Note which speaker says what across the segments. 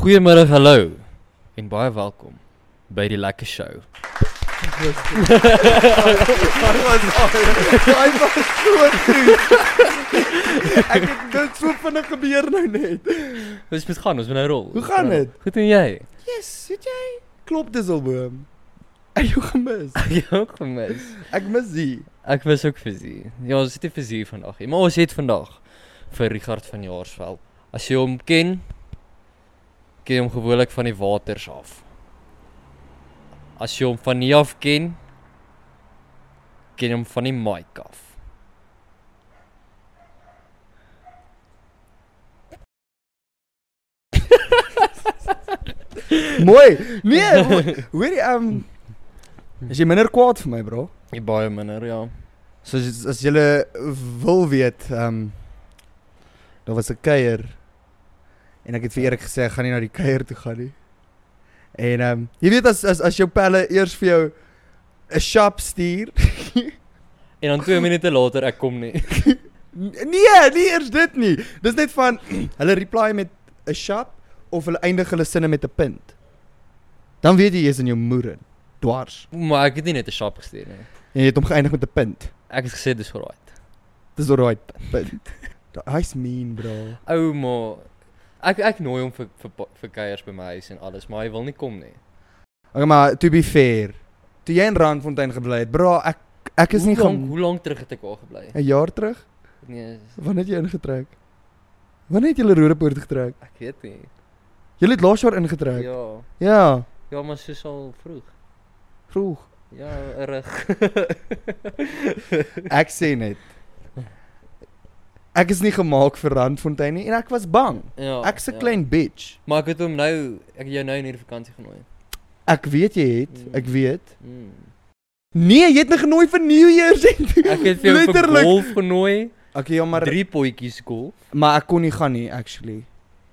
Speaker 1: Goeiemôre, hallo en baie welkom by die lekker show.
Speaker 2: Daai was daai was so goed. Ek het dit so vinnig gebeur nou net.
Speaker 1: Ons moet gaan, ons moet nou rol.
Speaker 2: Hoe gaan dit?
Speaker 1: Goed en jy?
Speaker 2: Yes, weet jy? Klop Disselboom. Ek jou gemis.
Speaker 1: Ek het ook gemis.
Speaker 2: Ek Ja, mis die.
Speaker 1: Ek was ook visie. Ja, ons het nie visie vandag nie, maar ons het vandag vir Richard van Jaarsveld. As jy hom ken, ken jy hom gewoonlik van die waters af. As jy hom van nie af ken, ken jy hom van die mic af.
Speaker 2: Mooi. Nee, ho- hoorie ehm Is jy minder kwaad vir my, bro?
Speaker 1: Jy baie minder, ja.
Speaker 2: So as, as jy wil weet, ehm um, daar was 'n kuier en ek het vir Erik gesê ek gaan nie na die kuier toe gaan nie. En ehm um, jy weet as as as jou pelle eers vir jou 'n shop stuur.
Speaker 1: En dan 2 minute later ek kom nie.
Speaker 2: N- Nee, nie eers dit nie. Dis net van hulle reply met 'n shop of hulle eindig hulle sinne met 'n punt. Dan weet jy jy's in jou moer in, dwars.
Speaker 1: Maar ek het nie net 'n shop gestuur nie.
Speaker 2: En jy het hom geëindig met 'n punt.
Speaker 1: Ek het gesê dis alright.
Speaker 2: Dis alright, punt. Hy's mean, bro.
Speaker 1: Ou maar ek ek nooi hom vir vir pa- vir kuiers by my huis en alles, maar hy wil nie kom nie.
Speaker 2: Okay, maar to be fair. Toe jy in Randfontein gebly het, bra, ek ek is nie
Speaker 1: hoe lank
Speaker 2: gaan
Speaker 1: hoe lank terug het ek daar gebly?
Speaker 2: 'n jaar terug.
Speaker 1: Nee, is-
Speaker 2: Wanneer het jy ingetrek? Wanneer het jy Rodepoort getrek?
Speaker 1: ek weet nie.
Speaker 2: Jy het laas jaar ingetrek. Ja.
Speaker 1: Ja.
Speaker 2: ja.
Speaker 1: Ja, maar soos al vroeg.
Speaker 2: Vroeg.
Speaker 1: Ja, reg.
Speaker 2: Ek sê net. Ek is nie gemaak vir Randfontein nie en ek was bang.
Speaker 1: Ja.
Speaker 2: Ek's 'n
Speaker 1: ja.
Speaker 2: klein bitch.
Speaker 1: Maar ek het hom nou ek het jou nou in hierdie vakansie genooi.
Speaker 2: Ek weet jy het, ek weet.
Speaker 1: Mm.
Speaker 2: Nee, jy het my genooi vir New Year's.
Speaker 1: Ek het vir jou vir
Speaker 2: Letterlik.
Speaker 1: golf genooi,
Speaker 2: okay, ja,
Speaker 1: maar
Speaker 2: maar
Speaker 1: drie potjies golf.
Speaker 2: maar ek kon nie gaan nie actually.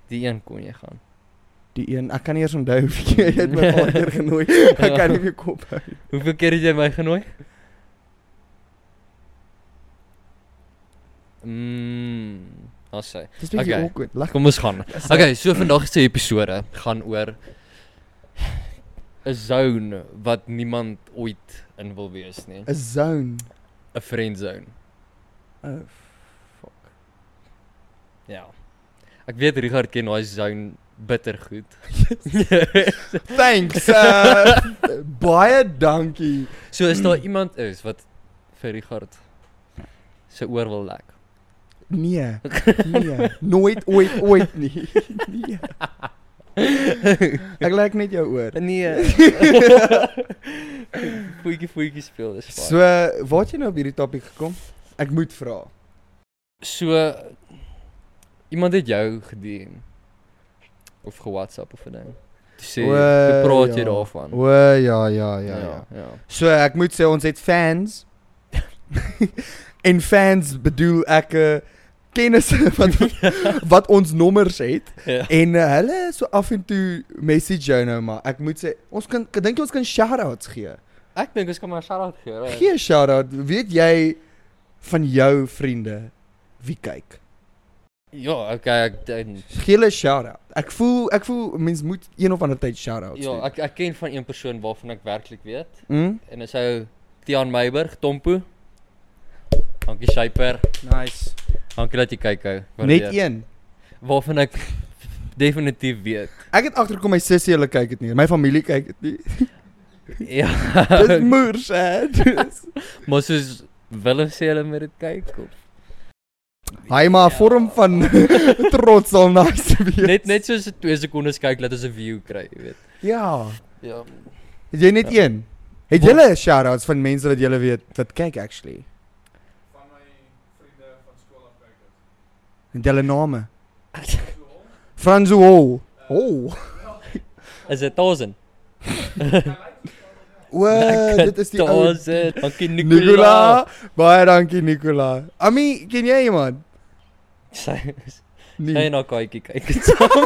Speaker 1: Die een kon jy gaan.
Speaker 2: Die een, ek kan nie eens onthou wie jy het my al keer genooi. Ek kan nie meer kop hou.
Speaker 1: Hoeveel keer het jy my genooi? Mm. Ons sê.
Speaker 2: Dis bietjie
Speaker 1: Okay.
Speaker 2: okay. awkward. Lag.
Speaker 1: Kom ons gaan. Okay, so vandag se episode gaan oor 'n zone wat niemand ooit in wil wees nie.
Speaker 2: 'n zone.
Speaker 1: 'n Friend zone.
Speaker 2: Oh,
Speaker 1: Ja. Ek weet Richard ken daai zone bitter goed.
Speaker 2: thanks. Uh, baie dankie.
Speaker 1: So as daar iemand is wat vir Richard se oor wil lek.
Speaker 2: Nee. Nee. Nooit ooit ooit nie. Nee. Ek lyk net jou oor.
Speaker 1: Nee. Voetjie voetjie speel dis
Speaker 2: So,
Speaker 1: fyn.
Speaker 2: waar het jy nou op hierdie topik gekom? Ek moet vra.
Speaker 1: So iemand het jou gedien of ge-WhatsApp of 'n ding. Toe sê,
Speaker 2: O,
Speaker 1: "Hoe praat jy
Speaker 2: ja.
Speaker 1: daarvan?"
Speaker 2: O ja, ja, ja, ja.
Speaker 1: ja.
Speaker 2: So, ek moet sê ons het fans. en fans bedoel ek uh, kennisse wat wat ons nommers het.
Speaker 1: Ja.
Speaker 2: En uh, hulle so af en toe message jou nou maar. Ek moet sê, ons kan ek dink jy ons kan shout-outs gee.
Speaker 1: Ek dink ons kan maar 'n shout-out gee. right?
Speaker 2: Gee 'n shout-out. Weet jy van jou vriende wie kyk?
Speaker 1: Ja, okay, ek dink
Speaker 2: Gee hulle 'n shout-out. Ek voel ek voel mens moet een of ander tyd shout-outs
Speaker 1: ja,
Speaker 2: doen.
Speaker 1: ek ek ken van een persoon waarvan ek werklik weet
Speaker 2: Mm?
Speaker 1: en dit is ou Tiaan Meiburg, Tompo. Dankie Shaper.
Speaker 2: Nice.
Speaker 1: Dankie dat jy kyk ou.
Speaker 2: Net
Speaker 1: Waardeer.
Speaker 2: een.
Speaker 1: waarvan ek definitief weet.
Speaker 2: Ek het agterkom my sussie hulle kyk dit nie. My familie kyk dit nie.
Speaker 1: Ja.
Speaker 2: Dis moers, hè. Dis-
Speaker 1: maar soos wil ons sê hulle moet dit kyk of
Speaker 2: Hy maar 'n vorm van trots sal nice wees.
Speaker 1: net net soos 2 sekondes kyk dat ons 'n view kry, jy weet.
Speaker 2: Ja.
Speaker 1: Ja.
Speaker 2: Het jy net ja. een? Het
Speaker 1: Wat-
Speaker 2: julle shout-outs van mense wat julle weet wat kyk actually? Van my vriende van skool af kyk dit. En hulle name. Franzo Hall. Oh.
Speaker 1: Is dit 1000?
Speaker 2: O, Eh, dit is die ou
Speaker 1: 1000. Dankie Nicola.
Speaker 2: Nicola. Baie dankie Nicola. Ami, ken jy iemand?
Speaker 1: Sy sy
Speaker 2: Nee.
Speaker 1: na kykie kyk dit saam.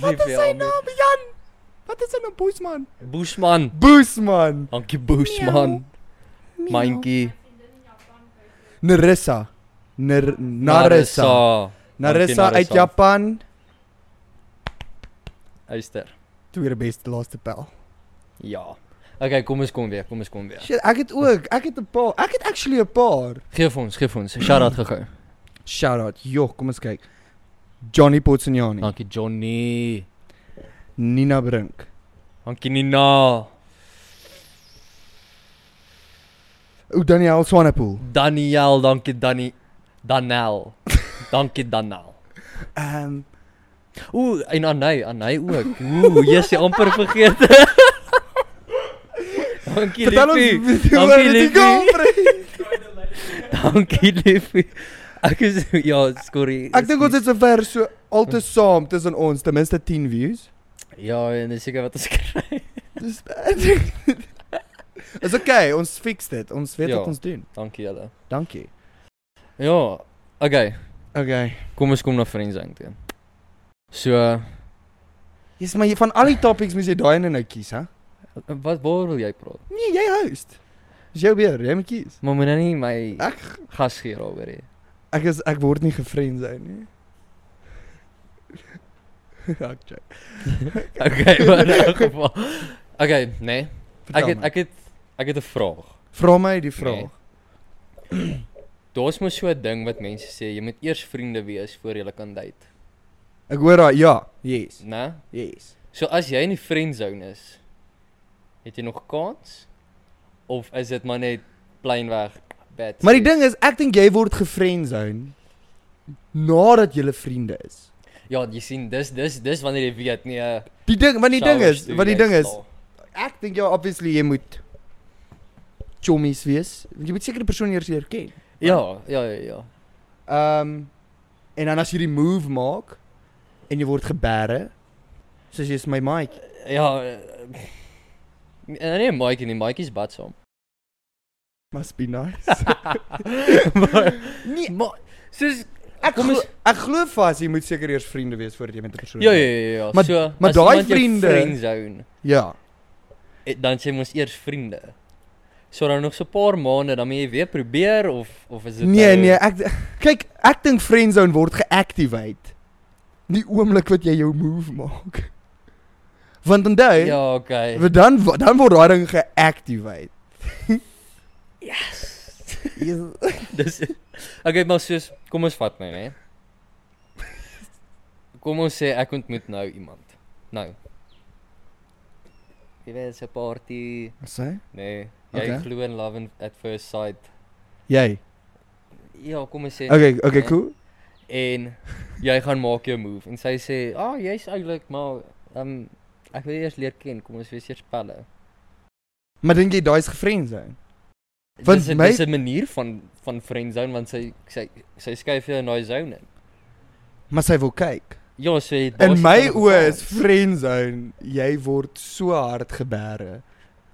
Speaker 1: Wat is sy naam?
Speaker 2: Jan. Wat is nou sy naam? Boesman.
Speaker 1: Bushman.
Speaker 2: Boesman.
Speaker 1: Dankie Bushman. Myntjie.
Speaker 2: Nerissa. Ner Narissa. Narissa uit
Speaker 1: Narissa.
Speaker 2: Japan.
Speaker 1: Uister.
Speaker 2: tweede beste laaste pel.
Speaker 1: Ja. Okay, kom ons kom weer, kom ons kom weer.
Speaker 2: Shit, ek het ook, ek het 'n paar. Ek het actually 'n paar.
Speaker 1: Geef ons, geef ons. Shout-out gou.
Speaker 2: Nee. Shout out. Joh, kom eens kyk. Johnny Potsignani,
Speaker 1: Dankie Johnny.
Speaker 2: Nina Brink.
Speaker 1: Dankie Nina.
Speaker 2: O Daniel Swanepoel.
Speaker 1: Daniel, dankie Danny. Danel. Dankie Danel.
Speaker 2: Ehm um,
Speaker 1: Ooh, en Anay, Anay ook. Ooh, jissie amper vergeet. dankie
Speaker 2: vertel
Speaker 1: liefie.
Speaker 2: ons
Speaker 1: Dankie,
Speaker 2: oor die
Speaker 1: liefie.
Speaker 2: goal. vriend.
Speaker 1: Dankie liefie. Ek is ja, sorry.
Speaker 2: Ek dink ons het sover so altyd saam tussen ons ten minste 10 views.
Speaker 1: Ja, en dis seker wat ons kry.
Speaker 2: Dis Is okay, ons fix dit. Ons weet
Speaker 1: Ja.
Speaker 2: wat ons doen.
Speaker 1: Dankie julle.
Speaker 2: Dankie.
Speaker 1: Ja, okay.
Speaker 2: Okay.
Speaker 1: Kom ons kom na friendsing toe. So,
Speaker 2: Jy's maar jy- van al die topics moet jy daai een nou kies, hè?
Speaker 1: wat waar wil jy praat?
Speaker 2: Nee, jy host. Dis jou weer, jy moet kies.
Speaker 1: Maar moet nou nie my
Speaker 2: Ek-
Speaker 1: gas gee daaroor hê.
Speaker 2: Ek is ek word nie gefriend sy nie. Ek check.
Speaker 1: Okay, maar in elk geval. Okay, nee. Ek het ek het ek het 'n vraag.
Speaker 2: vra my die vraag.
Speaker 1: Daar's mos so 'n ding wat mense sê, jy moet eers vriende wees voor jy kan date, Nee.
Speaker 2: Ek hoor daai ja. Yes.
Speaker 1: né?
Speaker 2: Yes.
Speaker 1: So as jy in die friendzone is, het jy nog kans? Of is dit maar net plain weg bad?
Speaker 2: Maar die
Speaker 1: sex?
Speaker 2: ding is, ek dink jy word gefriendzone nadat julle vriende is.
Speaker 1: Ja, jy sien, dis dis dis wanneer jy weet nee.
Speaker 2: Die ding, want die ding
Speaker 1: showers
Speaker 2: is,
Speaker 1: toe,
Speaker 2: wat die
Speaker 1: jy
Speaker 2: ding is,
Speaker 1: sla.
Speaker 2: ek dink ja obviously jy moet chommies wees. Want Jy moet seker die persoon eers leer ken.
Speaker 1: Ja, ja, ja, ja.
Speaker 2: Ehm um, en dan as jy die move maak en jy word gebere, soos jy's my maatjie.
Speaker 1: Ja. eh, eh, Nee, Mike en die Mike's bad saam.
Speaker 2: Must be nice.
Speaker 1: maar
Speaker 2: nee,
Speaker 1: maar soos
Speaker 2: ek
Speaker 1: Kom
Speaker 2: kom
Speaker 1: ons-
Speaker 2: ons ek glo vas jy moet seker eers vriende wees voordat jy met 'n persoon.
Speaker 1: ja ja ja, ja.
Speaker 2: Maar-
Speaker 1: so
Speaker 2: maar
Speaker 1: as
Speaker 2: daai
Speaker 1: iemand jou
Speaker 2: vriende-
Speaker 1: friendzone,
Speaker 2: Ja.
Speaker 1: eh, dan sê mos eers vriende. So dan nog so 'n paar maande dan moet jy weer probeer of of is dit
Speaker 2: Nee
Speaker 1: nou,
Speaker 2: nee, ek kyk, ek dink friendzone word geactivate die oomblik wat jy jou move maak. Want onthou, ja.
Speaker 1: Ja, okay.
Speaker 2: dan wo- dan word daai ding geactivate.
Speaker 1: Yes.
Speaker 2: Jy-
Speaker 1: Dis Okay, maar soos kom ons vat nou, né? Kom ons sê ek ontmoet nou iemand. Nou. Jy weet, 'n party,
Speaker 2: Wat sê?
Speaker 1: nee. Jy okay.
Speaker 2: Okay.
Speaker 1: glo in love and- at first sight.
Speaker 2: Jy.
Speaker 1: Ja, kom ons sê.
Speaker 2: Okay, okay,
Speaker 1: Nee.
Speaker 2: cool.
Speaker 1: En jy gaan maak jou move en sy sê, "Ag, oh, jy's eintlik maar um ek wil jou eers leer ken. Kom ons wees eers pelle."
Speaker 2: Maar dink jy daai's gefriendzone? Want
Speaker 1: Dis 'n
Speaker 2: my-
Speaker 1: dis 'n manier van van friendzone want sy sy sy skuif jou in daai zone in.
Speaker 2: Maar sy wil kyk.
Speaker 1: Ja, so jy het
Speaker 2: In
Speaker 1: basies
Speaker 2: my
Speaker 1: dan nog 'n
Speaker 2: oë is
Speaker 1: kans.
Speaker 2: friendzone, jy word so hard gebere.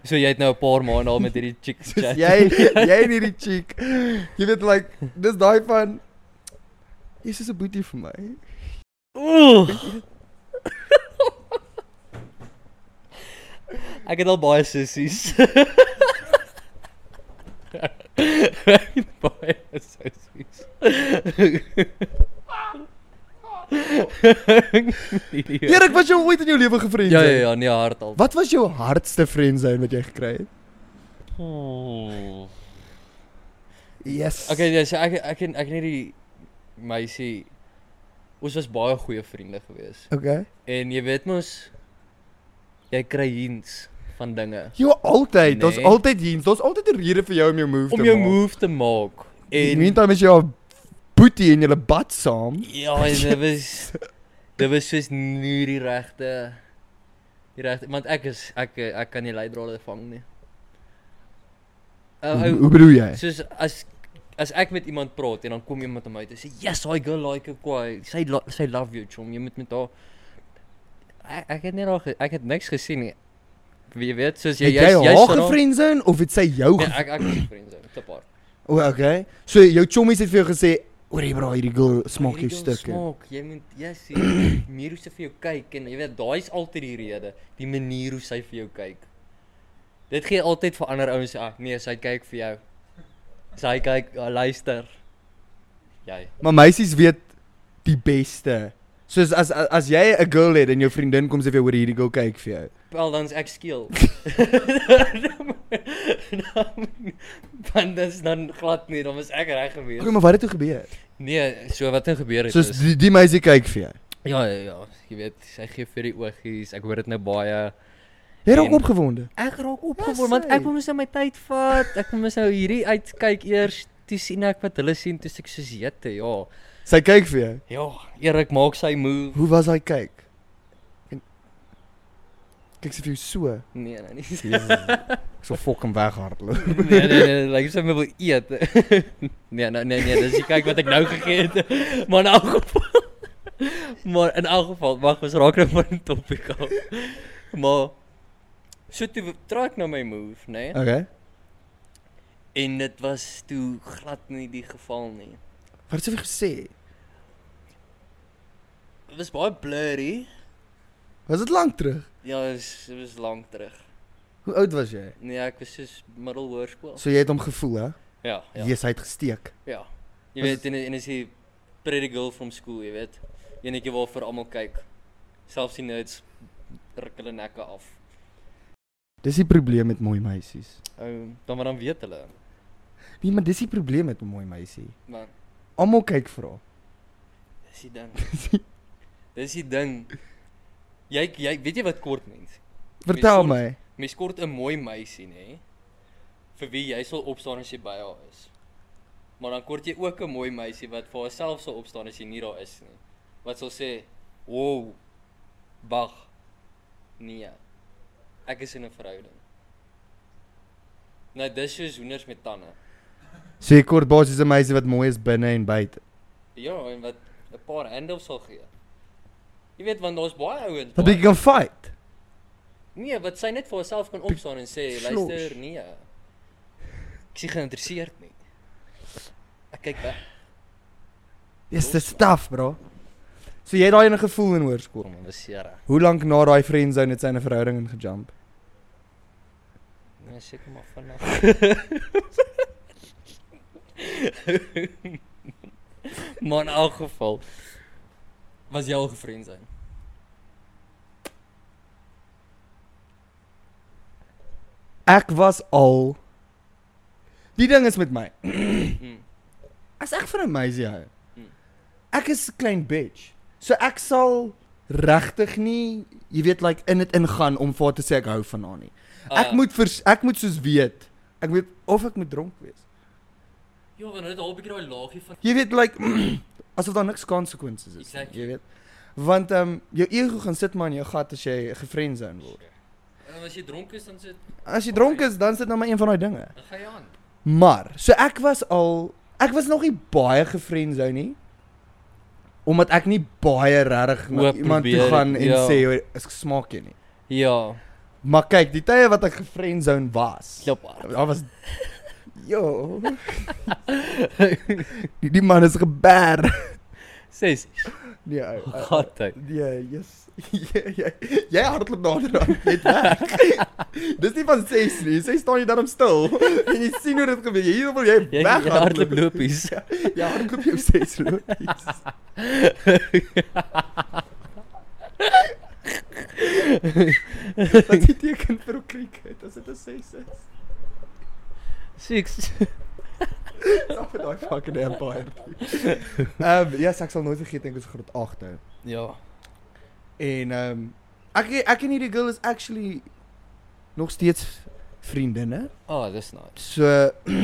Speaker 1: So jy het nou 'n paar maande al met hierdie chick
Speaker 2: Soos
Speaker 1: chat.
Speaker 2: jy jy en hierdie chick. Jy weet like dis daai van Jy's so 'n boetie vir my.
Speaker 1: Oeh. Ek het al baie sissies. Ek het baie sissies.
Speaker 2: Ja. Erik, was jy ooit in jou lewe gevriend?
Speaker 1: ja ja ja, nee hard al.
Speaker 2: Wat was jou hardste friendzone wat jy gekry het?
Speaker 1: Oeh.
Speaker 2: Yes.
Speaker 1: Okay, nee, so ek ek en ek en hierdie meisie ons was baie goeie vriende gewees.
Speaker 2: Okay.
Speaker 1: En jy weet mos jy kry hints van dinge.
Speaker 2: Jy altyd, daar's
Speaker 1: Nee.
Speaker 2: altyd hier, daar's altyd 'n rede vir jou om jou move te
Speaker 1: om
Speaker 2: maak.
Speaker 1: jou move te maak.
Speaker 2: En
Speaker 1: En
Speaker 2: meantime is jy al boetie en jy bad saam.
Speaker 1: ja, en dit was dit was soos nie die regte die regte want ek is ek ek kan nie leidrade vang nie. Uh,
Speaker 2: Hoe
Speaker 1: ou,
Speaker 2: hoe bedoel jy?
Speaker 1: soos as as ek met iemand praat en dan kom iemand om my te sê, "Yes, I go like a kwai. Sy lo- sy love you, chom. Jy moet met haar ek, ek het net al ge, ek het niks gesien nie. Jy weet, soos jy
Speaker 2: Het jy
Speaker 1: jy's- jy's
Speaker 2: haar
Speaker 1: van haar-
Speaker 2: gefriendzone of het sy jou?
Speaker 1: Nee,
Speaker 2: ge-
Speaker 1: ek ek is vriende, te paar.
Speaker 2: O, okay. So jou chommies het vir jou gesê, "Oor hier bra, hierdie girl smaak jou
Speaker 1: Hierdie ding
Speaker 2: stukke."
Speaker 1: Smaak, jy moet jy sien meer hoe sy vir jou kyk en jy weet daai is altyd die rede, die manier hoe sy vir jou kyk. Dit gee altyd vir ander ouens ah nee, sy kyk vir jou. Sy kyk, ah, luister. Jy.
Speaker 2: Maar meisies weet die beste. Soos as as, as jy 'n girl het en jou vriendin kom sê vir jou hoor hierdie girl kyk vir jou.
Speaker 1: Wel dan's ek skeel. Want dis dan glad nie, dan was ek reg
Speaker 2: Okay,
Speaker 1: gewees.
Speaker 2: maar wat het toe gebeur?
Speaker 1: Nee, so wat het gebeur het
Speaker 2: Soos
Speaker 1: is
Speaker 2: die, die meisie kyk vir jou.
Speaker 1: Ja, ja, ja, jy weet, sy gee vir die oogies. Ek hoor dit nou baie.
Speaker 2: Jy raak
Speaker 1: En-
Speaker 2: opgewonde.
Speaker 1: Ek raak
Speaker 2: Ja,
Speaker 1: opgewonde want
Speaker 2: sy.
Speaker 1: ek wil mos nou my tyd vat. Ek wil mos nou hierdie uitkyk eers. Toe sien ek wat hulle sien, toe sê ek soos jette, ja.
Speaker 2: Sy kyk vir jou.
Speaker 1: Ja, Erik maak sy move.
Speaker 2: Hoe was hy kyk? En kyk sy vir jou so.
Speaker 1: Nee, nee, nee.
Speaker 2: Ek sou fucking weghardloop.
Speaker 1: Nee, nee, nee, lyk asof hy wil eet. nee, nou nee, nee, dis die kyk wat ek nou gegee het. Maar in elk geval Maar in elk geval, wag, ons raak nou van die topik af. Maar so toe trek na my move, né? Nee?
Speaker 2: Okay.
Speaker 1: En dit was toe glad nie die geval nie.
Speaker 2: Wat het sy vir jou gesê?
Speaker 1: Dit was baie blurry.
Speaker 2: Was dit lank terug?
Speaker 1: Ja, dit was- dit was lank terug.
Speaker 2: Hoe oud was jy?
Speaker 1: Nee, ek was soos middelhoërskool.
Speaker 2: So jy het hom gevoel, hè?
Speaker 1: Ja, ja.
Speaker 2: Ja. Yes, hy het gesteek.
Speaker 1: Ja. Jy
Speaker 2: Was-
Speaker 1: weet en en is die pretty girl from school, jy weet. Enetjie waar vir almal kyk. Selfs die nerds ruk hulle nekke af.
Speaker 2: Dis die probleem met mooi meisies.
Speaker 1: Ou, Ehm, dan maar dan weet hulle.
Speaker 2: Nee, maar dis die probleem met 'n mooi meisie.
Speaker 1: Maar
Speaker 2: Almal kyk vra.
Speaker 1: dis die ding. Dis die ding. Jy jy weet jy wat kort mens.
Speaker 2: Vertel
Speaker 1: Mens
Speaker 2: my.
Speaker 1: Mens kort 'n mooi meisie, nê? Vir wie jy sal opstaan as jy by haar is. Maar dan kort jy ook 'n mooi meisie wat vir haarself sal opstaan as jy nie daar is nie. Wat sal sê, "Wow. Wag. Nee. Ek is in 'n verhouding." Nou dis soos hoenders met tande.
Speaker 2: So jy kort basies 'n meisie wat mooi is binne en buite.
Speaker 1: Ja, en wat 'n paar handels sal gee. Jy weet want daar's baie ouens.
Speaker 2: Dat
Speaker 1: baie-
Speaker 2: jy kan fight.
Speaker 1: Nee, wat sy net vir haarself kan opstaan en sê,
Speaker 2: Slosh.
Speaker 1: luister, nee. Ek is nie geïnteresseerd nie. Ek kyk weg.
Speaker 2: Dis dis stuff, bro. So jy het daai 'n gevoel in hoërskool.
Speaker 1: Kom, dis seere.
Speaker 2: Hoe lank na daai friendzone het sy in 'n verhouding ingejump?
Speaker 1: Nee, seker maar van. maar in elk geval was jy al gevriend zijn.
Speaker 2: Ek was al Die ding is met my.
Speaker 1: Mm.
Speaker 2: As ek vir 'n meisie hou.
Speaker 1: Mm.
Speaker 2: Ek is 'n klein bitch. So ek sal regtig nie, jy weet, like in dit ingaan om vir haar te sê ek hou van haar nie. Ek
Speaker 1: Ah,
Speaker 2: moet vers, ek moet soos weet. Ek moet of ek moet dronk wees.
Speaker 1: Ja, want dit al 'n bietjie daai laagie van
Speaker 2: Jy weet like asof daar niks konsekwensies is.
Speaker 1: Exactly.
Speaker 2: Jy weet. Want ehm um, jou ego gaan sit maar in jou gat as jy gefriendzone word.
Speaker 1: en as jy dronk is dan sit
Speaker 2: As jy dronk is, dan sit nou maar een van daai dinge.
Speaker 1: dan gaan jy aan.
Speaker 2: Maar, so ek was al ek was nog nie baie gefriendzone nie. Omdat ek nie baie regtig na
Speaker 1: Oop
Speaker 2: iemand toe
Speaker 1: probeer,
Speaker 2: gaan en
Speaker 1: ja.
Speaker 2: sê "Hoor, ek smaak jou nie.
Speaker 1: Ja,
Speaker 2: Maar kyk, die tye wat ek gefriendzone was.
Speaker 1: klop.
Speaker 2: Daar was Jo. die, die man is geber.
Speaker 1: Ses. Oh,
Speaker 2: Nee, ou. ou, ou.
Speaker 1: Gat ek.
Speaker 2: Nee, yes. jy jy- jy hardloop nader aan net weg. Dis nie van 6 nie. Sy staan jy daarom stil en jy sien hoe dit gebeur. Hier wil jy
Speaker 1: Jy
Speaker 2: weg
Speaker 1: hardloop lopies.
Speaker 2: Ja, hardloop jy op 6 lopies. Wat dit teken vir 'n cricket as dit 'n 6 is.
Speaker 1: Six.
Speaker 2: Stop met daai fucking empire. Ehm ja, ek sal nooit vergeet dink ek was groot 8 nou.
Speaker 1: Ja.
Speaker 2: En ehm um, ek ek en hierdie girl is actually nog steeds vriendinne.
Speaker 1: Ah, oh, dis nice.
Speaker 2: So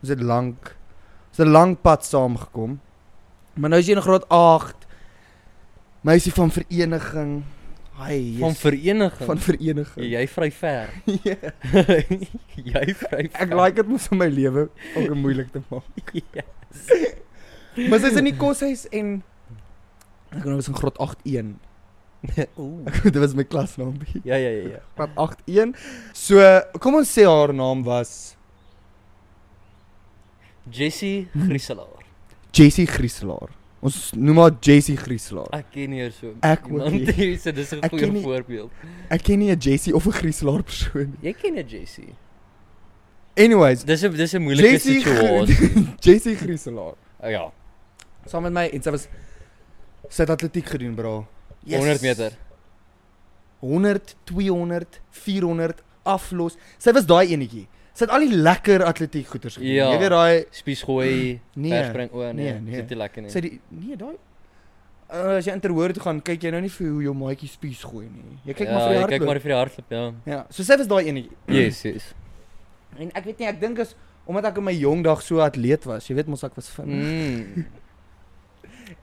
Speaker 2: ons het lank ons het 'n lang pad saam gekom. Maar nou is jy in graad 8. Meisie van vereniging. Hi,
Speaker 1: Van
Speaker 2: yes,
Speaker 1: vereniging. Ja,
Speaker 2: van vereniging.
Speaker 1: jy vry ver.
Speaker 2: Ja.
Speaker 1: jy vry ver.
Speaker 2: Ek like dit mos om my lewe ook moeilik te maak.
Speaker 1: ja.
Speaker 2: Maar sy's in die koshuis en ek kon ons in graad 8-1.
Speaker 1: Ooh.
Speaker 2: Dit was my klasnaampie.
Speaker 1: Hmm. Ja ja ja ja.
Speaker 2: Graad 8-1. So kom ons sê haar naam was
Speaker 1: Jessie Grieselaar.
Speaker 2: Jessie Grieselaar. Ons noem haar Jessie Grieselaar.
Speaker 1: Ek ken nie haar so.
Speaker 2: Ek ook nie.
Speaker 1: hier sê dis 'n
Speaker 2: Ek ken
Speaker 1: goeie
Speaker 2: nie-
Speaker 1: voorbeeld.
Speaker 2: Ek ken nie 'n Jessie of 'n Grieselaar persoon nie.
Speaker 1: Jy ken 'n Jessie.
Speaker 2: Anyways,
Speaker 1: Dis 'n dis 'n moeilike
Speaker 2: Jessie Gr-
Speaker 1: situasie.
Speaker 2: Jessie Grieselaar.
Speaker 1: Ah, ja.
Speaker 2: Saam met my en sy was Sy het atletiek gedoen, bra.
Speaker 1: 100 meter.
Speaker 2: 100, 200, 400 aflos. Sy was daai enetjie. Sy het al die lekker atletiek goeters gedoen.
Speaker 1: Ja.
Speaker 2: Jy weet daai
Speaker 1: Spies gooi,
Speaker 2: nee.
Speaker 1: verspring o nee,
Speaker 2: nee, nee.
Speaker 1: dit is lekker
Speaker 2: Sy
Speaker 1: nie.
Speaker 2: die nee, daai uh, as jy interhoor toe gaan, kyk jy nou nie vir hoe jou maatjie spies gooi nie. Jy kyk
Speaker 1: ja,
Speaker 2: maar vir
Speaker 1: jy
Speaker 2: die
Speaker 1: kyk
Speaker 2: hardloop. Hmm.
Speaker 1: maar vir die hardloop, ja.
Speaker 2: Ja, so sy was daai enetjie.
Speaker 1: Yes, yes.
Speaker 2: En ek weet nie, ek dink is omdat ek in my jong dag so atleet was, jy weet mos ek was vinnig.
Speaker 1: Mm.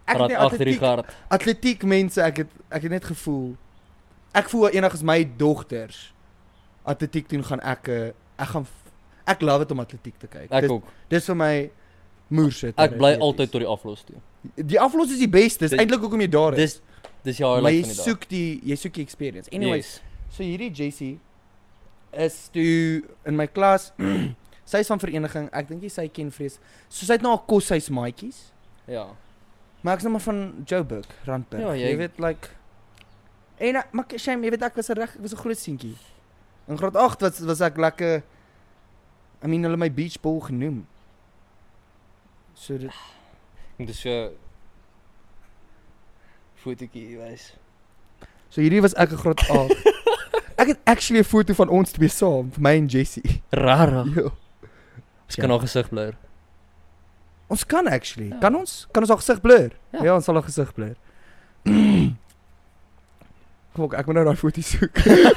Speaker 2: Ek het
Speaker 1: Praat
Speaker 2: nie
Speaker 1: agter die
Speaker 2: atletiek,
Speaker 1: kart.
Speaker 2: atletiek mense, ek het ek het net gevoel ek voel enigiets my dogters atletiek doen gaan ek eh, ek gaan f- ek love dit om atletiek te kyk.
Speaker 1: Ek
Speaker 2: dis,
Speaker 1: ook.
Speaker 2: dis vir my moer sit.
Speaker 1: Ek bly altyd tot die aflos toe.
Speaker 2: Die aflos is die beste. Dis
Speaker 1: Dit-
Speaker 2: eintlik hoekom jy daar is.
Speaker 1: Dis dis die
Speaker 2: Maar jy
Speaker 1: highlight van die dag.
Speaker 2: soek die jy soek die experience. Anyway,
Speaker 1: Yes.
Speaker 2: So hierdie JC is toe in my klas. sy is van vereniging. Ek dink jy sy ken vrees. So sy het nou haar koshuis maatjies.
Speaker 1: Ja.
Speaker 2: Maar ek's nou maar van Joburg, Randburg.
Speaker 1: Ja,
Speaker 2: jy...
Speaker 1: jy-
Speaker 2: jy weet like En ek- maar k- shame, jy weet ek was 'n reg, ek was 'n groot seentjie. In graad 8 was was ek lekker I mean hulle het my beachball genoem. So dit
Speaker 1: Dit is so fotootjie wys.
Speaker 2: so hierdie was ek in graad 8. ek het actually 'n foto van ons twee saam, my en JC.
Speaker 1: Rara.
Speaker 2: Jo.
Speaker 1: Ons kan haar gesig blur.
Speaker 2: Ons kan actually.
Speaker 1: Ja.
Speaker 2: Kan ons? Kan ons haar gesig blur? Ja,
Speaker 1: Ja.
Speaker 2: ja ons sal haar gesig blur. Kom ek, ek moet nou daai foto soek.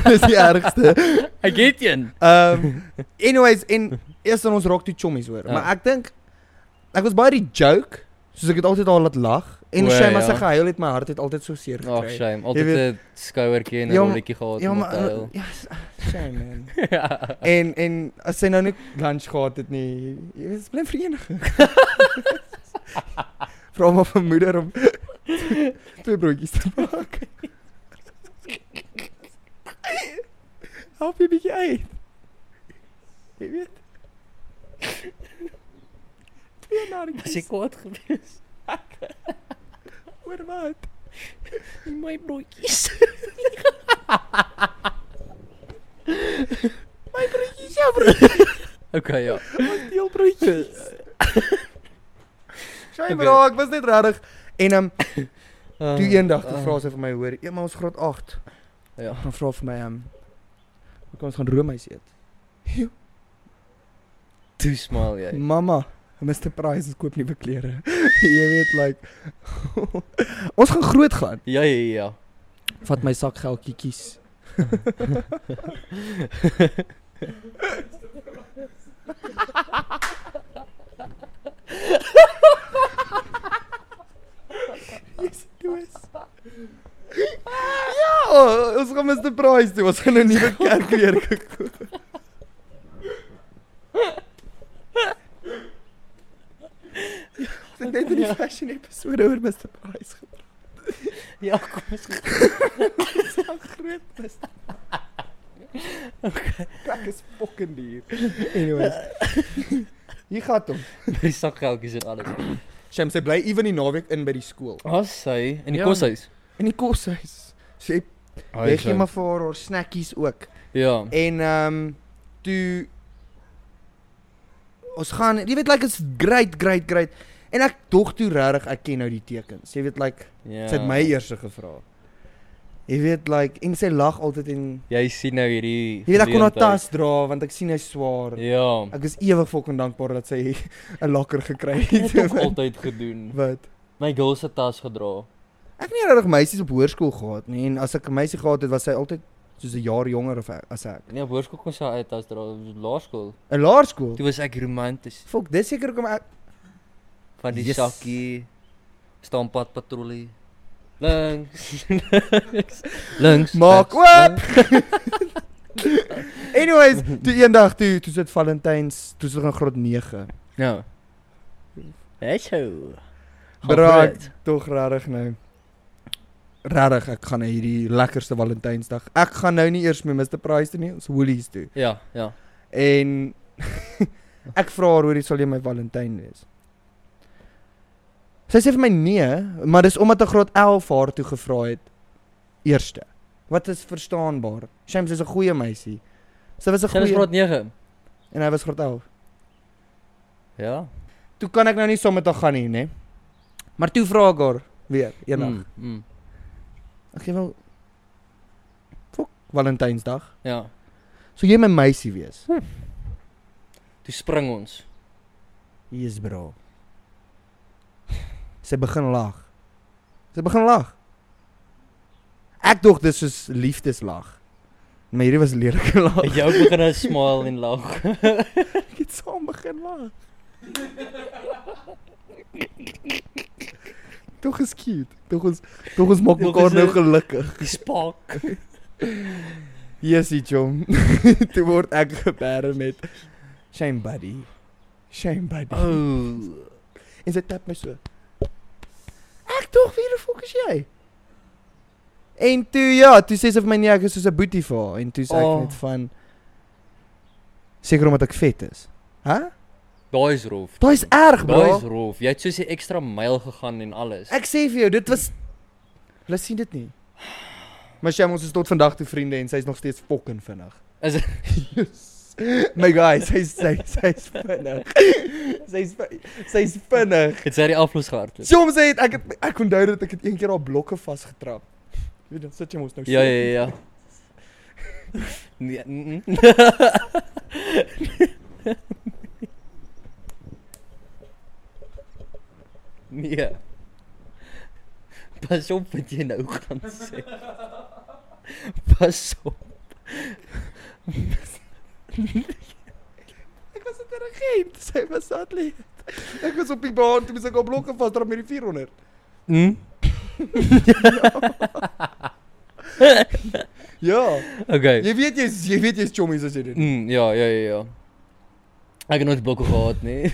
Speaker 2: Dis die ergste.
Speaker 1: Ek het een.
Speaker 2: Ehm um, anyways en eers dan ons raak toe chommies hoor.
Speaker 1: Ja.
Speaker 2: Ja. Maar ek dink ek was baie die joke, soos ek het altyd al laat lag en
Speaker 1: O,
Speaker 2: shame as
Speaker 1: ja.
Speaker 2: ek gehuil het my hart het altyd so seer
Speaker 1: Ag
Speaker 2: gekry.
Speaker 1: shame,
Speaker 2: Jy
Speaker 1: altyd 'n skouertjie en 'n
Speaker 2: Ja, maar-
Speaker 1: rolletjie gehad.
Speaker 2: ja,
Speaker 1: om
Speaker 2: maar
Speaker 1: te huil.
Speaker 2: ja, s- shame man. en en as sy nou nie lunch gehad het nie, jy weet, is bly vereniging. Vra maar vir moeder om twee broodjies te maak. Help jy bietjie uit. Jy weet. Twee
Speaker 1: Was
Speaker 2: narretjies.
Speaker 1: ek kwaad gewees?
Speaker 2: Oor wat?
Speaker 1: Nie my broodjies.
Speaker 2: My broodjies, jou broodjies,
Speaker 1: Okay, ja.
Speaker 2: deel broodjies. Sy
Speaker 1: Okay.
Speaker 2: bra, ek was net regtig en ehm um,
Speaker 1: Uh,
Speaker 2: toe eendag toe vra sy vir my hoor, "Ja, maar ons graad 8."
Speaker 1: Ja.
Speaker 2: Dan vra vir my ehm um, kan ons gaan roomys eet.
Speaker 1: Toe smal jy.
Speaker 2: Mamma, Mr Price ons koop nuwe klere. jy weet like ons gaan groot gaan.
Speaker 1: Ja, ja, ja.
Speaker 2: Vat my sakgeldjie kies. Yes, dis. Ja, ons gaan Mr Price toe. Ons gaan 'n nuwe kerk weer gekoop. Dit Ja, net in die fashion episode oor Mr Price gepraat.
Speaker 1: Ja, kom ons.
Speaker 2: Hoe groot is dit? Okay. Krak is fucking duur. Anyways. Hier gaan hom.
Speaker 1: Die sakgeldjies en alles.
Speaker 2: Shams hy bly ewen die naweek in by die skool.
Speaker 1: As sy in die
Speaker 2: Ja.
Speaker 1: ja. koshuis.
Speaker 2: In die koshuis. So jy Jy gee maar vir haar haar snackies ook.
Speaker 1: Ja.
Speaker 2: En ehm um, toe ons gaan, jy weet like it's great, great, great. En ek dog toe regtig ek ken nou die tekens. Jy weet like
Speaker 1: Ja.
Speaker 2: sy het my eers gevra. Jy weet like en sy lag altyd en
Speaker 1: Jy sien nou hierdie
Speaker 2: jy weet ek kon haar
Speaker 1: geleentheid.
Speaker 2: tas dra want ek sien hy's swaar.
Speaker 1: Ja.
Speaker 2: Ek is ewig fucking dankbaar dat sy 'n lokker gekry
Speaker 1: Ek het ook
Speaker 2: het.
Speaker 1: altyd gedoen.
Speaker 2: Wat?
Speaker 1: My girl se tas gedra.
Speaker 2: Ek het nie regtig meisies op hoërskool gehad nie en as ek 'n meisie gehad het was sy altyd soos 'n jaar jonger of ek, as ek.
Speaker 1: Nee, op hoërskool kon sy haar eie tas dra, op laerskool.
Speaker 2: 'n Laerskool.
Speaker 1: Toe was ek romanties
Speaker 2: Fok, dis seker hoekom ek
Speaker 1: van die yes.
Speaker 2: Yes.
Speaker 1: sakkie stamppad patrollie. Links. links.
Speaker 2: Maak
Speaker 1: links,
Speaker 2: oop. Anyways, toe eendag toe toe sit Valentyns, toe sit ek in graad 9.
Speaker 1: links. Ja. Hallo.
Speaker 2: Braak tog regtig nou. Regtig, ek gaan nou hierdie lekkerste Valentynsdag. Ek gaan nou nie eers met Mr Price toe nie, ons Woolies toe.
Speaker 1: Ja, ja.
Speaker 2: En ek vra haar hoorie sal jy my Valentyn wees? Sy sê vir my nee, maar dis omdat ek graad 11 haar toe gevra het eerste. Wat is verstaanbaar. Shams is 'n goeie meisie. Sy was 'n
Speaker 1: Sy was
Speaker 2: goeie
Speaker 1: graad 9.
Speaker 2: en hy was graad 11.
Speaker 1: Ja.
Speaker 2: Ja. Toe kan ek nou nie saam met haar gaan nie, né? Maar toe vra ek haar, weer eendag.
Speaker 1: Mm, mm.
Speaker 2: Ek sê wel Fok, Valentynsdag.
Speaker 1: Ja.
Speaker 2: So jy my meisie wees.
Speaker 1: Toe spring ons.
Speaker 2: Jesus bro. Sy begin lag. Sy begin lag. Ek dog dis soos liefdeslag. Maar hierdie was lelike lag.
Speaker 1: Jou begin 'n smile en lag.
Speaker 2: Ek het saam begin lag. Tog is cute. Tog ons tog ons maak
Speaker 1: Tog
Speaker 2: mekaar
Speaker 1: is
Speaker 2: nou
Speaker 1: dit-
Speaker 2: gelukkig.
Speaker 1: Die spaak.
Speaker 2: Yesie chom. Toe word ek geperre met shame buddy. Shame buddy.
Speaker 1: Oh. Ooh.
Speaker 2: En sy tap my so. Ek tog wie die fok is jy? En toe ja, toe sê sy vir my nee, ek is soos 'n boetie vir haar en toe sê
Speaker 1: Oh.
Speaker 2: ek net van seker omdat ek vet is. Hæ? Huh?
Speaker 1: Daai is rof.
Speaker 2: Daai is erg, bro.
Speaker 1: Daai is rof. Jy het soos 'n ekstra myl gegaan en alles.
Speaker 2: Ek sê vir jou, dit was Hulle sien dit nie. Maar Sham ons is tot vandag toe vriende en sy's nog steeds fucking vinnig.
Speaker 1: Is
Speaker 2: yes. My guy, sy's sy, sy's vinnig. sy's vi- sy's vinnig.
Speaker 1: dit sy die aflos gehardloop.
Speaker 2: Soms sê ek het, ek onthou dat ek het een keer haar blokke vasgetrap. Jy weet dan sit jy mos nou
Speaker 1: Ja ja ja. ja. Nee. mm, mm. Nee. Pas op wat jy nou gaan sê. Pas op.
Speaker 2: Ek was 'n dirigent, sy was sadly. Ek was op die baan toe moes ek haar blokke vasdrap met die 400.
Speaker 1: Mm?
Speaker 2: Ja.
Speaker 1: Okay.
Speaker 2: Jy weet jy's jy weet jy's chommies as jy dit. doen.
Speaker 1: Mm, ja ja ja ja. Ek het nooit blokke gehad nie.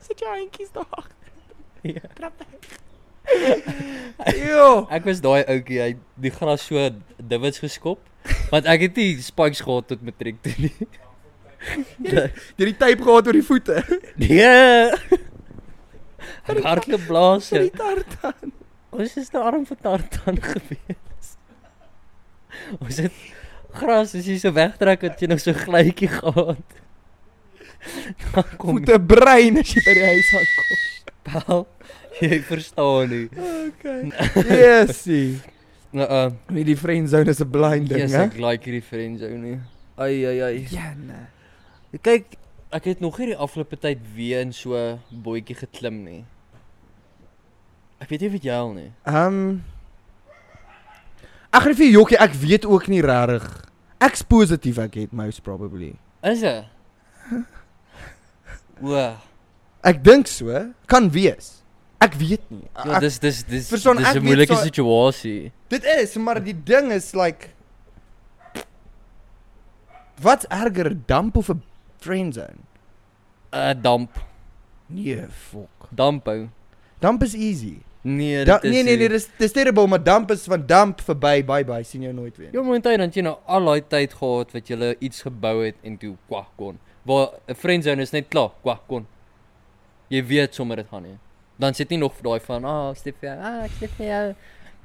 Speaker 2: Sit jou handjies daar.
Speaker 1: Ja.
Speaker 2: Trap. Jo.
Speaker 1: Ek was daai ouetjie, hy het die gras so divots geskop want ek het nie spikes gehad tot matriek toe nie. Ja,
Speaker 2: Jy het die tape gehad oor die voete.
Speaker 1: Nee. Ek hardloop blaas. ja.
Speaker 2: Vir die tartan.
Speaker 1: Ons is nou arm van tartan gewees. Ons het gras as jy so wegtrek het jy nog so glytjie gehad. Dan kom
Speaker 2: Voete brein as jy by die huis aankom.
Speaker 1: bel. Jy verstaan nie.
Speaker 2: Okay. Yesie.
Speaker 1: Nou uh
Speaker 2: Nee, die friend zone is 'n blind ding,
Speaker 1: yes,
Speaker 2: hè?
Speaker 1: ek like hierdie friends ou nie. Ai ai ai.
Speaker 2: Ja, nee.
Speaker 1: Kyk, ek het nog hierdie afgelope tyd weer in so 'n bootjie geklim nie. Ek weet nie of jy al nie.
Speaker 2: Ehm Ek gaan nie vir jou jokkie, ek weet ook nie regtig. Ek's positief ek het mouse probably.
Speaker 1: Is dit? Wow.
Speaker 2: Ek dink so, kan wees. Ek weet nie.
Speaker 1: Ja,
Speaker 2: Ek,
Speaker 1: dis dis dis
Speaker 2: Verstaan,
Speaker 1: dis
Speaker 2: ek
Speaker 1: 'n
Speaker 2: weet
Speaker 1: moeilike
Speaker 2: so-
Speaker 1: situasie.
Speaker 2: dit is, maar die ding is like Wat erger, 'n damp of 'n friend zone?
Speaker 1: 'n uh, damp,
Speaker 2: Nee, fok.
Speaker 1: damp ou.
Speaker 2: Damp is easy.
Speaker 1: Nee,
Speaker 2: Da
Speaker 1: dit is
Speaker 2: nee nee
Speaker 1: nie.
Speaker 2: nee, dis dis terrible, maar damp is van damp verby, bye bye, sien jou nooit weer.
Speaker 1: Ja, momenteel dan het jy nou al daai tyd gehad wat jy iets gebou het en toe kwak kon. Waar 'n friendzone is net klaar, kwak kon. Jy weet sommer dit gaan nie. Dan sit nie nog vir daai van, "Ah, oh, stef vir jou. Ah, ek stef vir jou.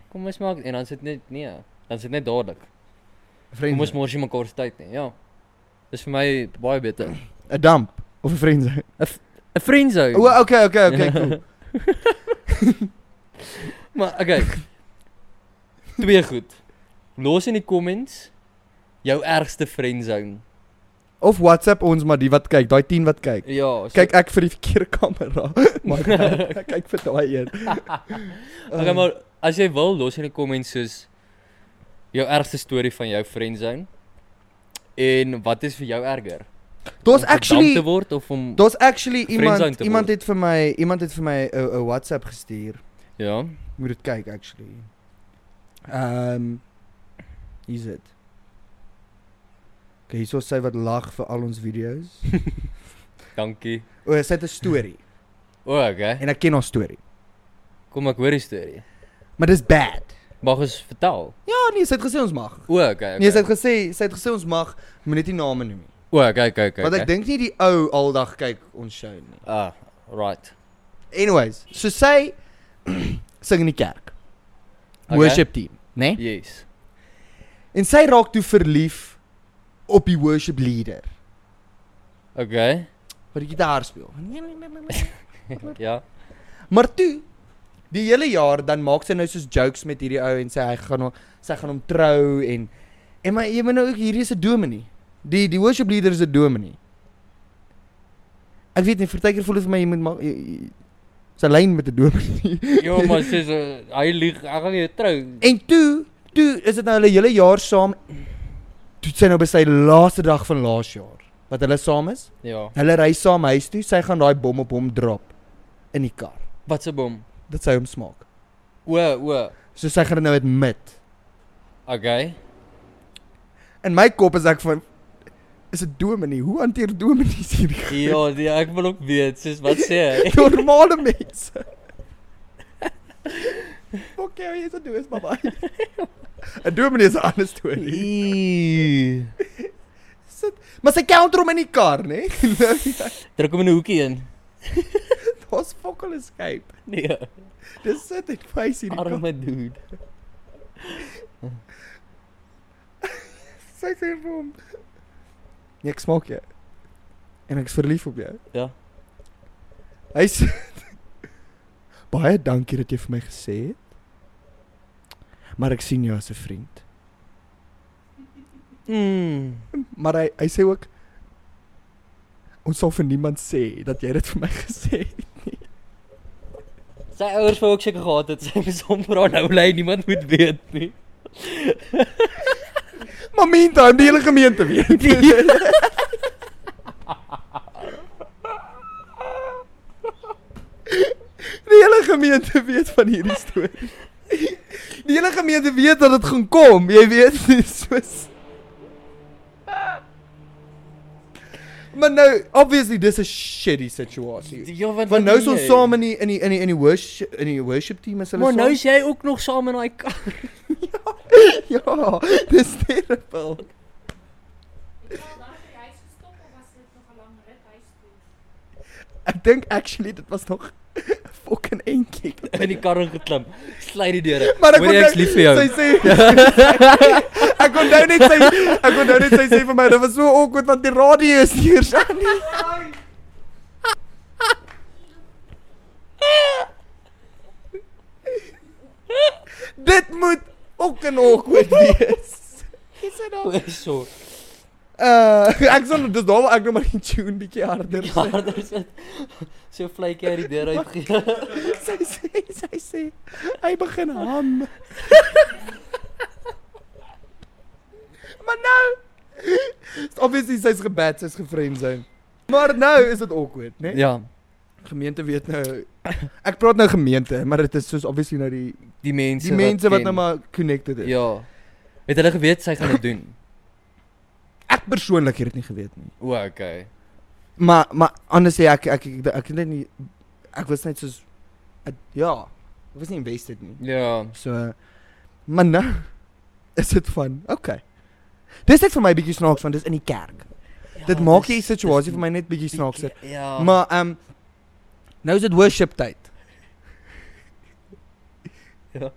Speaker 1: Kom ons maak." En dan sit net nee, dan sit net dadelik. Kom ons
Speaker 2: Vriend.
Speaker 1: mors jy mekaar se tyd nie. Ja. Dis vir my baie beter.
Speaker 2: 'n Damp of 'n friend zone.
Speaker 1: 'n Friendzone.
Speaker 2: O, okay, okay, okay, cool.
Speaker 1: Maar okay. Twee goed. Los in die comments jou ergste friendzone.
Speaker 2: Of WhatsApp ons maar die wat kyk, daai 10 wat kyk.
Speaker 1: Ja, so,
Speaker 2: Kyk ek vir die verkeerde kamera. Maar ek- ek kyk vir daai een.
Speaker 1: okay,
Speaker 2: Ehm.
Speaker 1: maar as jy wil, los in die comments soos jou ergste storie van jou friendzone. En wat is vir jou erger?
Speaker 2: Eh, Daar's
Speaker 1: Om gedump te
Speaker 2: actually
Speaker 1: word of om
Speaker 2: daar's actually
Speaker 1: zone
Speaker 2: iemand
Speaker 1: te
Speaker 2: iemand
Speaker 1: word.
Speaker 2: het vir my iemand het vir my 'n 'n WhatsApp gestuur.
Speaker 1: ja.
Speaker 2: Moet dit kyk actually. Ehm um, is dit. Okay, hierso is sy wat lag vir al ons video's.
Speaker 1: Dankie.
Speaker 2: O, sy het 'n storie
Speaker 1: O, okay.
Speaker 2: en ek ken haar storie.
Speaker 1: Kom ek hoor die storie.
Speaker 2: Maar dis bad.
Speaker 1: Mag ons vertel?
Speaker 2: Ja, nee, sy het gesê ons mag.
Speaker 1: O, okay. okay.
Speaker 2: Okay. Nee, sy het gesê sy het gesê ons mag, moet net nie name noem nie.
Speaker 1: O, okay, okay, okay.
Speaker 2: Okay. Want ek
Speaker 1: okay.
Speaker 2: dink nie die ou aldag kyk ons show nie.
Speaker 1: Ah, right.
Speaker 2: Anyways, so sy sing in die
Speaker 1: Okay.
Speaker 2: kerk.
Speaker 1: Ja.
Speaker 2: Okay. Worship team, né? Nee?
Speaker 1: Yes.
Speaker 2: En sy raak toe verlief op die worship leader
Speaker 1: Okay.
Speaker 2: wat die gitaar speel.
Speaker 1: ja.
Speaker 2: Maar toe die hele jaar dan maak sy nou soos jokes met hierdie ou en sê hy gaan hom- sy gaan hom trou en en maar jy moet nou ook hierdie is 'n dominee. Die die worship leader is 'n dominee. Ek weet nie, partykeer voel dit vir my jy moet maak jy- jy- sy lyn met 'n dominee.
Speaker 1: Ja, maar sê so, hy lieg, hy gaan jou trou.
Speaker 2: En toe, toe is dit nou hulle hele jaar saam. Toe het sy nou by sy laaste dag van laas jaar wat hulle saam is.
Speaker 1: Ja.
Speaker 2: Hulle ry saam huis toe. Sy gaan daai bom op hom drop in die kar.
Speaker 1: Wat se bom?
Speaker 2: Dat sy hom smaak.
Speaker 1: O, o.
Speaker 2: So sy gaan dit nou admit.
Speaker 1: Okay.
Speaker 2: In my kop is ek van is dit dominee? Hoe hanteer dominees hierdie goed?
Speaker 1: Ja, die, ek wil ook weet, soos wat sê hy?
Speaker 2: normale mense? Oké, okay, jy's dit is baba. 'n Dominee is 'n ander storie.
Speaker 1: Druk
Speaker 2: Sit, maar sy counter hom in die kar, né?
Speaker 1: hom in 'n hoekie in.
Speaker 2: Daar's fokol escape.
Speaker 1: Nee,
Speaker 2: Dis sit en wys hierdie kar.
Speaker 1: arme dude.
Speaker 2: Sy sê vir hom. Nee, ek smaak jou. En ek's verlief op jou.
Speaker 1: Ja.
Speaker 2: Hy sê Baie dankie dat jy vir my gesê het. Maar ek sien jou as 'n vriend.
Speaker 1: Mm.
Speaker 2: Maar hy hy sê ook ons sal vir niemand sê dat jy dit vir my gesê het.
Speaker 1: Sy ouers wou ook seker gehad het sy is hom vra nou lei niemand moet weet nie.
Speaker 2: Maar meantime, die hele gemeente weet. Die hele gemeente weet van hierdie storie. Die hele gemeente weet dat dit gaan kom. Jy weet soos Maar nou, obviously dis 'n shitty situasie.
Speaker 1: Ja, want
Speaker 2: Want nou is
Speaker 1: doen
Speaker 2: ons
Speaker 1: jy?
Speaker 2: saam in die in die in die in die worship in die worship team is hulle
Speaker 1: Maar nou
Speaker 2: saam.
Speaker 1: is jy ook nog saam in daai kar.
Speaker 2: ja, dis terrible. Ek dink actually dit was nog 'n fucking eentjie.
Speaker 1: in die kar ingeklim. Sly die deure.
Speaker 2: Maar ek
Speaker 1: Hoor jy, ek's
Speaker 2: onthou-
Speaker 1: lief vir jou.
Speaker 2: Sy sê Ek onthou net sy ek onthou net sy sê vir my dit was so awkward want die radio is hier aan. nie." Dit moet ook 'n awkward wees. Dis nou.
Speaker 1: so.
Speaker 2: Uh ek sonder dis daar waar ek nou maar die tune bietjie harder
Speaker 1: Ja,
Speaker 2: sit.
Speaker 1: daar is dit. So vletjie uit die deur uit. ge-
Speaker 2: Sy sê, sy sê, hy begin ham. maar nou, is obviously sy's gebad, sy's gefriendzone. Maar nou is dit awkward, né?
Speaker 1: ja,
Speaker 2: Gemeente weet nou. Ek praat nou gemeente, maar dit is soos obviously nou die
Speaker 1: die mense
Speaker 2: die mense wat
Speaker 1: ken.
Speaker 2: nou maar connected is.
Speaker 1: Ja. Het hulle geweet sy gaan dit doen?
Speaker 2: Ek persoonlik het dit nie geweet nie.
Speaker 1: O, okay.
Speaker 2: Maar maar anders sê ek ek ek ek, ek het net nie ek was net soos ek, ja, ek was nie invested nie.
Speaker 1: Ja.
Speaker 2: So maar nou is dit van. Okay. Dis net vir my bietjie snaaks want dis in die kerk.
Speaker 1: ja
Speaker 2: Ja, dit maak die situasie vir my net bietjie snaakser.
Speaker 1: Ja.
Speaker 2: Maar ehm um, nou is dit worship tyd.
Speaker 1: Ja.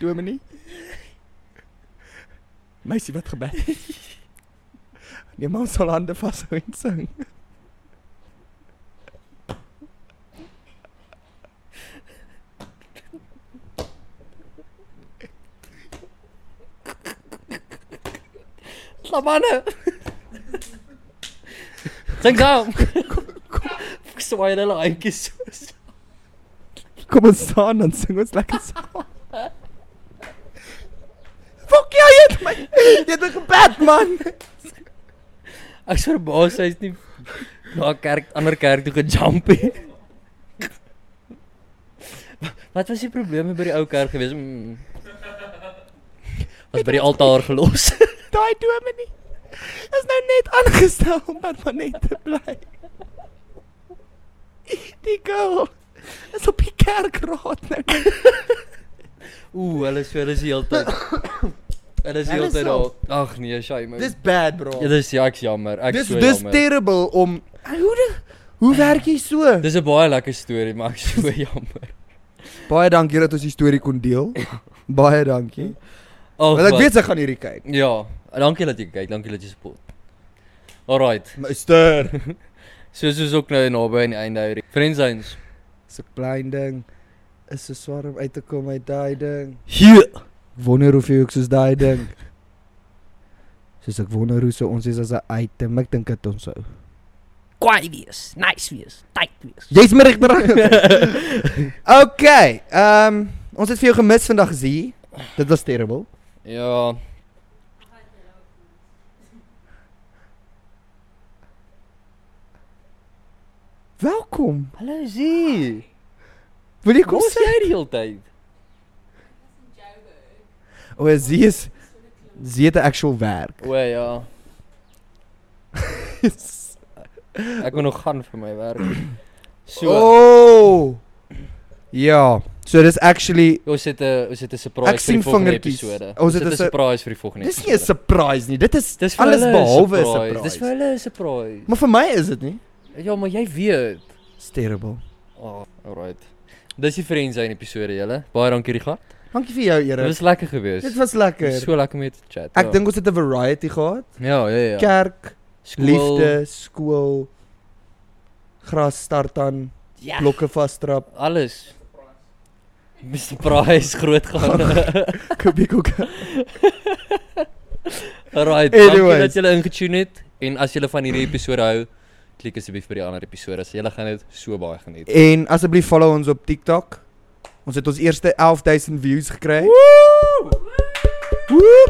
Speaker 2: Dominee. Meisie wat gebed. Neem ons al hande vas en sing.
Speaker 1: Slamanne. Sing saam. Ek swaai hulle handjies so.
Speaker 2: Kom ons staan dan sing ons lekker saam. Fuck jou, jy het my jy het my gebed man.
Speaker 1: Ek is verbaas hy's nie na 'n kerk ander kerk toe gejump het. Wat was die probleme by die ou kerk gewees? Mm. Was by die altaar gelos.
Speaker 2: Daai dominee is nou net aangestel om permanent te bly. Die girl is op die kerkraad nou.
Speaker 1: Ooh, hulle so hulle is die hele tyd. Hulle is die hele
Speaker 2: Hulle
Speaker 1: tyd daar.
Speaker 2: sal-
Speaker 1: Ag nee, shame.
Speaker 2: Dis bad bro.
Speaker 1: Ja, dis ja, ek's jammer. Ek
Speaker 2: Dis
Speaker 1: so
Speaker 2: dis
Speaker 1: jammer.
Speaker 2: terrible om hoe de, hoe werk jy so?
Speaker 1: Dis 'n baie lekker storie, maar ek so jammer.
Speaker 2: Baie dankie dat ons die storie kon deel. Baie dankie.
Speaker 1: Ag.
Speaker 2: Want ek
Speaker 1: wat.
Speaker 2: weet sy gaan hierdie kyk.
Speaker 1: Ja, dankie dat jy kyk, dankie dat jy support. Alrite.
Speaker 2: Meester.
Speaker 1: Soos is ook nou naby aan die einde uit. Friendsins.
Speaker 2: So klein ding. Is so swaar om uit te kom uit daai ding.
Speaker 1: Hier.
Speaker 2: Wonder hoeveel ek soos daai ding. Soos ek wonder hoe so ons is as 'n item. Ek dink dit ons sou.
Speaker 1: Kwaai wees, nice wees, tyd wees.
Speaker 2: Jy's my regterhand. okay. Ehm um, ons het vir jou gemis vandag gesien. Dit was terrible.
Speaker 1: Ja,
Speaker 2: Welkom.
Speaker 1: hallo Zee.
Speaker 2: Wil jy
Speaker 1: Kom
Speaker 2: kom
Speaker 1: sê
Speaker 2: sit?
Speaker 1: jy die hele tyd.
Speaker 2: O, Zee is Zee het 'n actual werk.
Speaker 1: O ja. Ek moet nog gaan vir my werk. So, oh.
Speaker 2: Oh. Ja. So dis actually
Speaker 1: ons het 'n ons het 'n surprise
Speaker 2: Ek
Speaker 1: vir
Speaker 2: sien
Speaker 1: die volgende
Speaker 2: vingertjies.
Speaker 1: episode.
Speaker 2: Ons het 'n-
Speaker 1: surprise vir die volgende.
Speaker 2: dis nie 'n surprise nie. Dit is
Speaker 1: Dis
Speaker 2: dis
Speaker 1: vir
Speaker 2: alles
Speaker 1: hulle 'n
Speaker 2: behalwe 'n
Speaker 1: surprise.
Speaker 2: surprise.
Speaker 1: Dis vir hulle 'n surprise.
Speaker 2: Maar vir my is dit nie.
Speaker 1: Ja, maar jy weet.
Speaker 2: It's terrible.
Speaker 1: Oh, alright. Dis die Friends Zone episode julle. Baie dankie Richard.
Speaker 2: Dankie vir jou,
Speaker 1: Dit
Speaker 2: Here.
Speaker 1: was lekker gewees.
Speaker 2: Dit was
Speaker 1: Dit
Speaker 2: lekker.
Speaker 1: was so lekker om met te chat.
Speaker 2: Ek
Speaker 1: ja.
Speaker 2: dink ons het 'n variety gehad.
Speaker 1: ja, ja, ja.
Speaker 2: Kerk,
Speaker 1: Skool,
Speaker 2: liefde, skool, gras start aan,
Speaker 1: Ja,
Speaker 2: blokke vastrap,
Speaker 1: alles. Mr. Price groot gaan.
Speaker 2: kubiekoek.
Speaker 1: Alright,
Speaker 2: Anyways.
Speaker 1: dankie dat julle ingetune het en as julle van hierdie episode hou, klik asseblief vir die ander episode. Julle gaan dit so baie geniet.
Speaker 2: En asseblief follow ons op TikTok. Ons het ons eerste 11000 views gekry. Woe!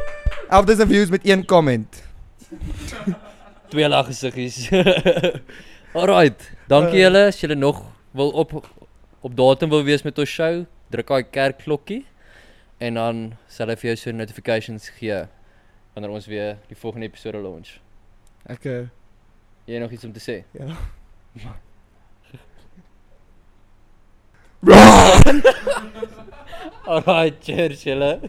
Speaker 2: 11000 views met een comment.
Speaker 1: Twee lag gesiggies. Alright, dankie
Speaker 2: Uh.
Speaker 1: julle as julle nog wil op op datum wil wees met ons show, druk daai kerkklokkie en dan sal hulle vir jou so notifications gee wanneer ons weer die volgende episode launch.
Speaker 2: Ek eh,
Speaker 1: Jy nog iets om te sê?
Speaker 2: ja.
Speaker 1: Alright, cheers julle.